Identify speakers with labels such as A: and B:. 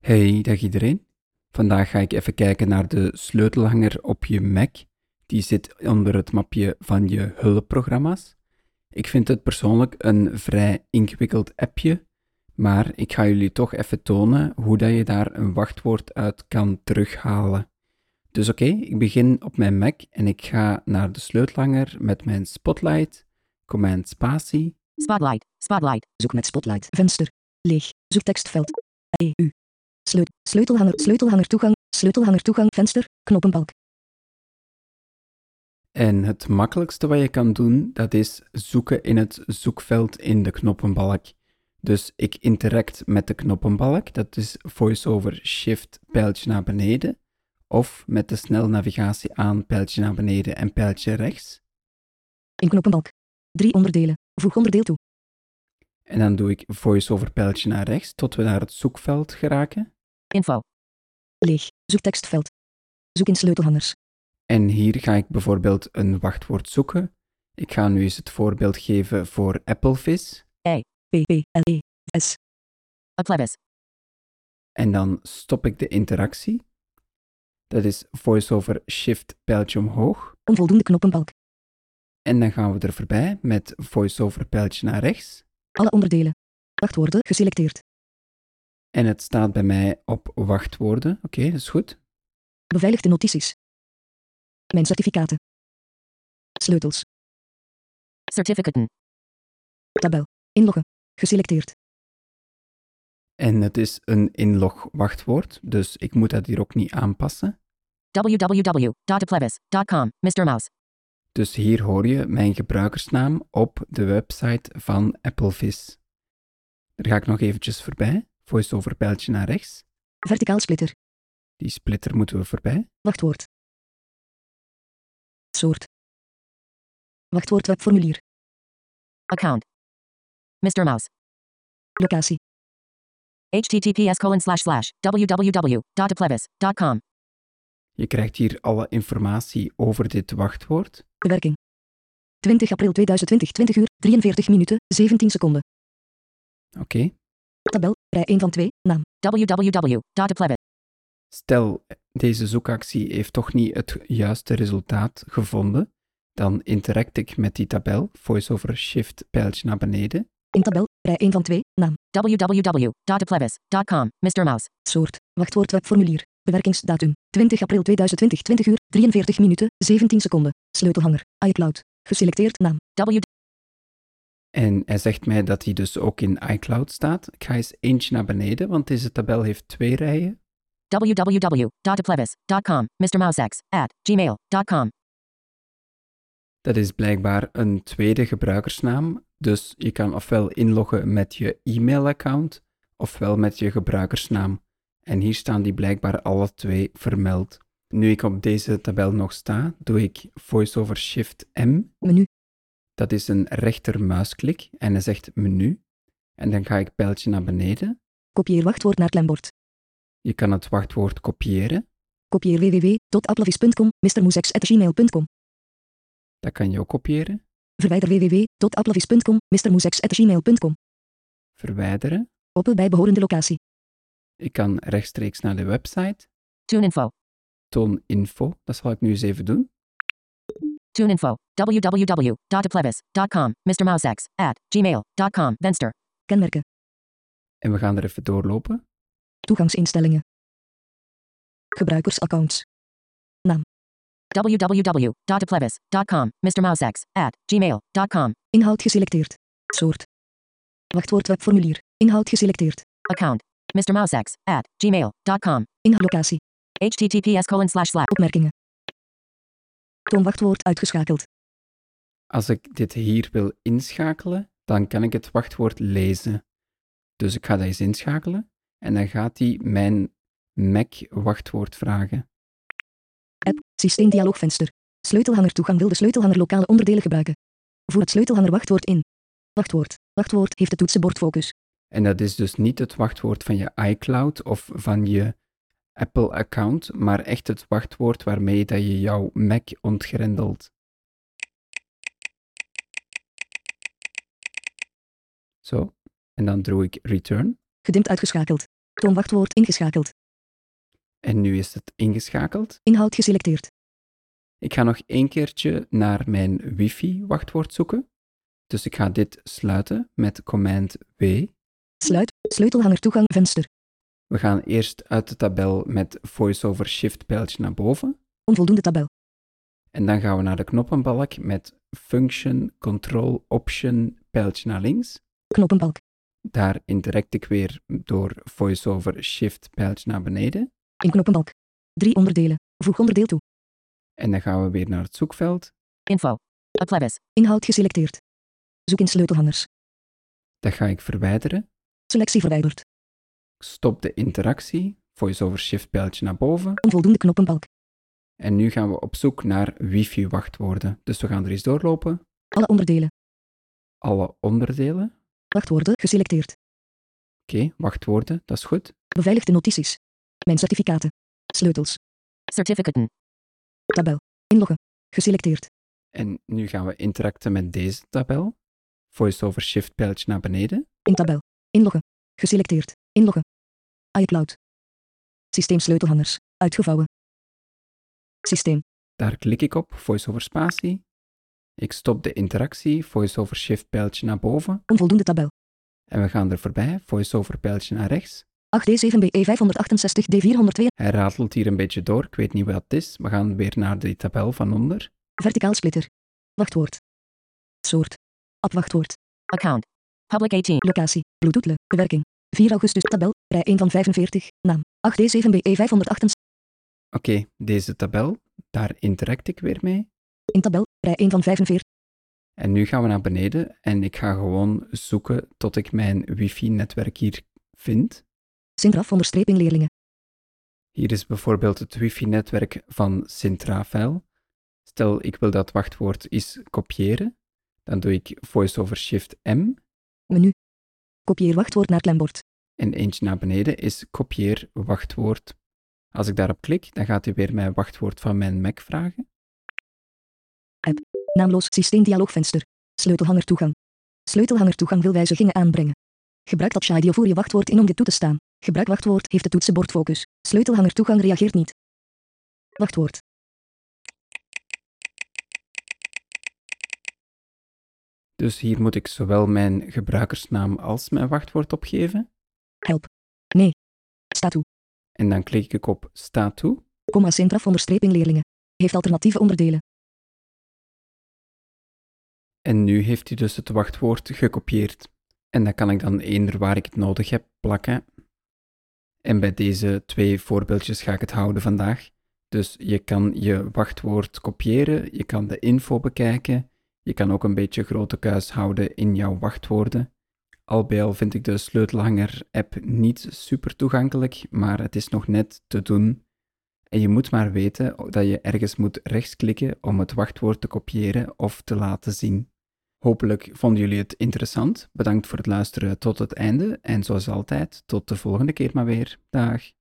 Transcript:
A: Hey, dag iedereen. Vandaag ga ik even kijken naar de sleutelhanger op je Mac. Die zit onder het mapje van je hulpprogramma's. Ik vind het persoonlijk een vrij ingewikkeld appje, maar ik ga jullie toch even tonen hoe dat je daar een wachtwoord uit kan terughalen. Dus oké, ik begin op mijn Mac en ik ga naar de sleutelhanger met mijn spotlight, command spatie,
B: Spotlight, spotlight, zoek met spotlight, venster, leeg, zoektekstveld, EU, Sleut, sleutelhanger, sleutelhanger toegang, sleutelhanger toegang, venster, knoppenbalk,
A: En het makkelijkste wat je kan doen, dat is zoeken in het zoekveld in de knoppenbalk. Dus ik interact met de knoppenbalk, dat is voiceover shift pijltje naar beneden, of met de snelnavigatie aan pijltje naar beneden en pijltje rechts.
B: in knoppenbalk. Drie onderdelen, voeg onderdeel toe,
A: En dan doe ik voiceover pijltje naar rechts tot we naar het zoekveld geraken.
B: info, leeg, zoektekstveld, zoek in sleutelhangers,
A: En hier ga ik bijvoorbeeld een wachtwoord zoeken. Ik ga nu eens het voorbeeld geven voor Applevis.
B: P, P, L, E, S,
C: Plebis.
A: En dan stop ik de interactie. Dat is voiceover shift pijltje omhoog.
B: onvoldoende knoppenbalk,
A: En dan gaan we er voorbij met voiceover pijltje naar rechts.
B: alle onderdelen, wachtwoorden geselecteerd,
A: En het staat bij mij op wachtwoorden. Oké, dat is goed.
B: beveiligde notities, mijn certificaten, sleutels,
C: Certificaten.
B: tabel, inloggen, geselecteerd,
A: En het is een inlog wachtwoord, dus ik moet dat hier ook niet aanpassen.
C: www.plebis.com. Mr. Mouse.
A: Dus hier hoor je mijn gebruikersnaam op de website van Applevis. Daar ga ik nog eventjes voorbij. Voiceover pijltje naar rechts.
B: verticaal splitter,
A: Die splitter moeten we voorbij.
B: Wachtwoord. Soort. Wachtwoord webformulier.
C: Account. Mr. Mouse.
B: Locatie.
C: https colon slash slash www.plebis.com.
A: Je krijgt hier alle informatie over dit wachtwoord.
B: Bewerking. 20 april 2020, 20 uur, 43 minuten, 17 seconden.
A: Oké.
B: Tabel, rij 1 van 2, naam.
C: www.plebis.
A: Stel, deze zoekactie heeft toch niet het juiste resultaat gevonden, dan interact ik met die tabel, voiceover shift pijltje naar beneden.
B: In tabel, rij 1 van 2, naam.
C: www.plebis.com. Mr. Mouse.
B: Soort. Wachtwoord webformulier. Bewerkingsdatum. 20 april 2020, 20 uur, 43 minuten, 17 seconden. Sleutelhanger. iCloud. Geselecteerd naam.
C: W.
A: En hij zegt mij dat hij dus ook in iCloud staat. Ik ga eens eentje naar beneden, want deze tabel heeft twee rijen.
C: www.plebis.com. Mr. Mouse X. At gmail.com.
A: Dat is blijkbaar een tweede gebruikersnaam, dus je kan ofwel inloggen met je e-mailaccount, ofwel met je gebruikersnaam. En hier staan die blijkbaar alle twee vermeld. Nu ik op deze tabel nog sta, doe ik voiceover shift M
B: Menu.
A: Dat is een rechtermuisklik en hij zegt menu. En dan ga ik pijltje naar beneden.
B: Kopieer wachtwoord naar klembord.
A: Je kan het wachtwoord kopiëren.
B: Kopieer www.applevis.com, mrmoesex.gmail.com.
A: Dat kan je ook kopiëren.
B: Verwijder www.applevis.com, mrmoesex.gmail.com.
A: Verwijderen.
B: Open bij behorende locatie.
A: Ik kan rechtstreeks naar de website.
C: TuneInfo.
A: Toon info. Dat zal ik nu eens even doen.
C: TuneInfo. www.plebis.com. Mr. Mouse X. At gmail.com. Venster.
B: Kenmerken.
A: En we gaan er even doorlopen.
B: Toegangsinstellingen. Gebruikersaccounts.
C: www.plebis.com. Mr. Mouse X. At gmail.com.
B: Inhoud geselecteerd. Soort. Wachtwoord webformulier. Inhoud geselecteerd.
C: Account. Mr. Mouse X at gmail.com.
B: Inhoudlocatie.
C: https colon slash slash
B: Opmerkingen. Toonwachtwoord uitgeschakeld.
A: Als ik dit hier wil inschakelen, dan kan ik het wachtwoord lezen. Dus ik ga dat eens inschakelen. En dan gaat hij mijn Mac-wachtwoord vragen.
B: App. Systeemdialoogvenster. Sleutelhanger toegang wil de sleutelhanger lokale onderdelen gebruiken. Voer het sleutelhanger wachtwoord in. Wachtwoord. Wachtwoord heeft het toetsenbord focus.
A: En dat is dus niet het wachtwoord van je iCloud of van je Apple-account, maar echt het wachtwoord waarmee dat je jouw Mac ontgrendelt. Zo, en dan doe ik return.
B: Gedimd uitgeschakeld. Toon wachtwoord ingeschakeld.
A: En nu is het ingeschakeld.
B: Inhoud geselecteerd.
A: Ik ga nog één keertje naar mijn wifi-wachtwoord zoeken. Dus ik ga dit sluiten met command W.
B: Sluit. Sleutelhanger toegang venster.
A: We gaan eerst uit de tabel met voiceover shift pijltje naar boven.
B: Onvoldoende tabel.
A: En dan gaan we naar de knoppenbalk met function, control, option, pijltje naar links.
B: Knoppenbalk.
A: Daar interact ik weer door voiceover shift pijltje naar beneden.
B: In knoppenbalk. Drie onderdelen. Voeg onderdeel toe.
A: En dan gaan we weer naar het zoekveld.
C: Info. A plebis.
B: Inhoud geselecteerd. Zoek in sleutelhangers.
A: Dat ga ik verwijderen.
B: Selectie verwijderd.
A: Ik stop de interactie. Voiceover shift pijltje naar boven.
B: Onvoldoende knoppenbalk.
A: En nu gaan we op zoek naar wifi-wachtwoorden. Dus we gaan er eens doorlopen.
B: Alle onderdelen.
A: Alle onderdelen. Oké,
B: Wachtwoorden geselecteerd.
A: wachtwoorden, dat is goed.
B: Beveiligde notities. Mijn certificaten. Sleutels.
C: Certificate. n-
B: Tabel. Inloggen. Geselecteerd.
A: En nu gaan we interacten met deze tabel. Voiceover shift pijltje naar beneden.
B: In tabel. Inloggen. Geselecteerd. Inloggen. iCloud. Systeem sleutelhangers. Uitgevouwen. Systeem.
A: Daar klik ik op, voiceover spatie. Ik stop de interactie, voiceover shift pijltje naar boven.
B: Onvoldoende tabel.
A: En we gaan er voorbij, voiceover pijltje naar rechts.
B: E 8D7BE568D402.
A: Hij ratelt hier een beetje door, ik weet niet wat het is. We gaan weer naar die tabel van onder.
B: Verticaal splitter. Wachtwoord. Soort. Abwachtwoord.
C: Account. Public 18.
B: Locatie. Bluetooth. Bewerking. 4 augustus. Tabel. Rij 1 van 45. Naam. E 8D7BE568.
A: Oké, deze tabel, daar interact ik weer mee.
B: In tabel. Rij 1 van 45.
A: En nu gaan we naar beneden en ik ga gewoon zoeken tot ik mijn wifi-netwerk hier vind.
B: Sintraf onderstreping leerlingen.
A: Hier is bijvoorbeeld het wifi-netwerk van Sint-Rafael. Stel, ik wil dat wachtwoord eens kopiëren. Dan doe ik voiceover shift M
B: Menu. Kopieer wachtwoord naar klembord.
A: en eentje naar beneden is kopieer wachtwoord. Als ik daarop klik, dan gaat hij weer mijn wachtwoord van mijn Mac vragen.
B: Naamloos systeemdialoogvenster. Sleutelhanger toegang. Sleutelhanger toegang wil wijzigingen aanbrengen. Gebruik dat Shadio voor je wachtwoord in om dit toe te staan. Gebruik wachtwoord heeft de toetsenbord focus. Sleutelhanger toegang reageert niet. Wachtwoord.
A: Dus hier moet ik zowel mijn gebruikersnaam als mijn wachtwoord opgeven.
B: Help. Nee. Staat toe.
A: En dan klik ik op sta toe.
B: Comma Centraf onderstreping leerlingen. Heeft alternatieve onderdelen.
A: En nu heeft hij dus het wachtwoord gekopieerd. En dat kan ik dan eender waar ik het nodig heb plakken. En bij deze twee voorbeeldjes ga ik het houden vandaag. Dus je kan je wachtwoord kopiëren, je kan de info bekijken, je kan ook een beetje grote kuis houden in jouw wachtwoorden. Al bij al vind ik de sleutelhanger-app niet super toegankelijk, maar het is nog net te doen. En je moet maar weten dat je ergens moet rechtsklikken om het wachtwoord te kopiëren of te laten zien. Hopelijk vonden jullie het interessant. Bedankt voor het luisteren tot het einde en zoals altijd tot de volgende keer maar weer. Dag.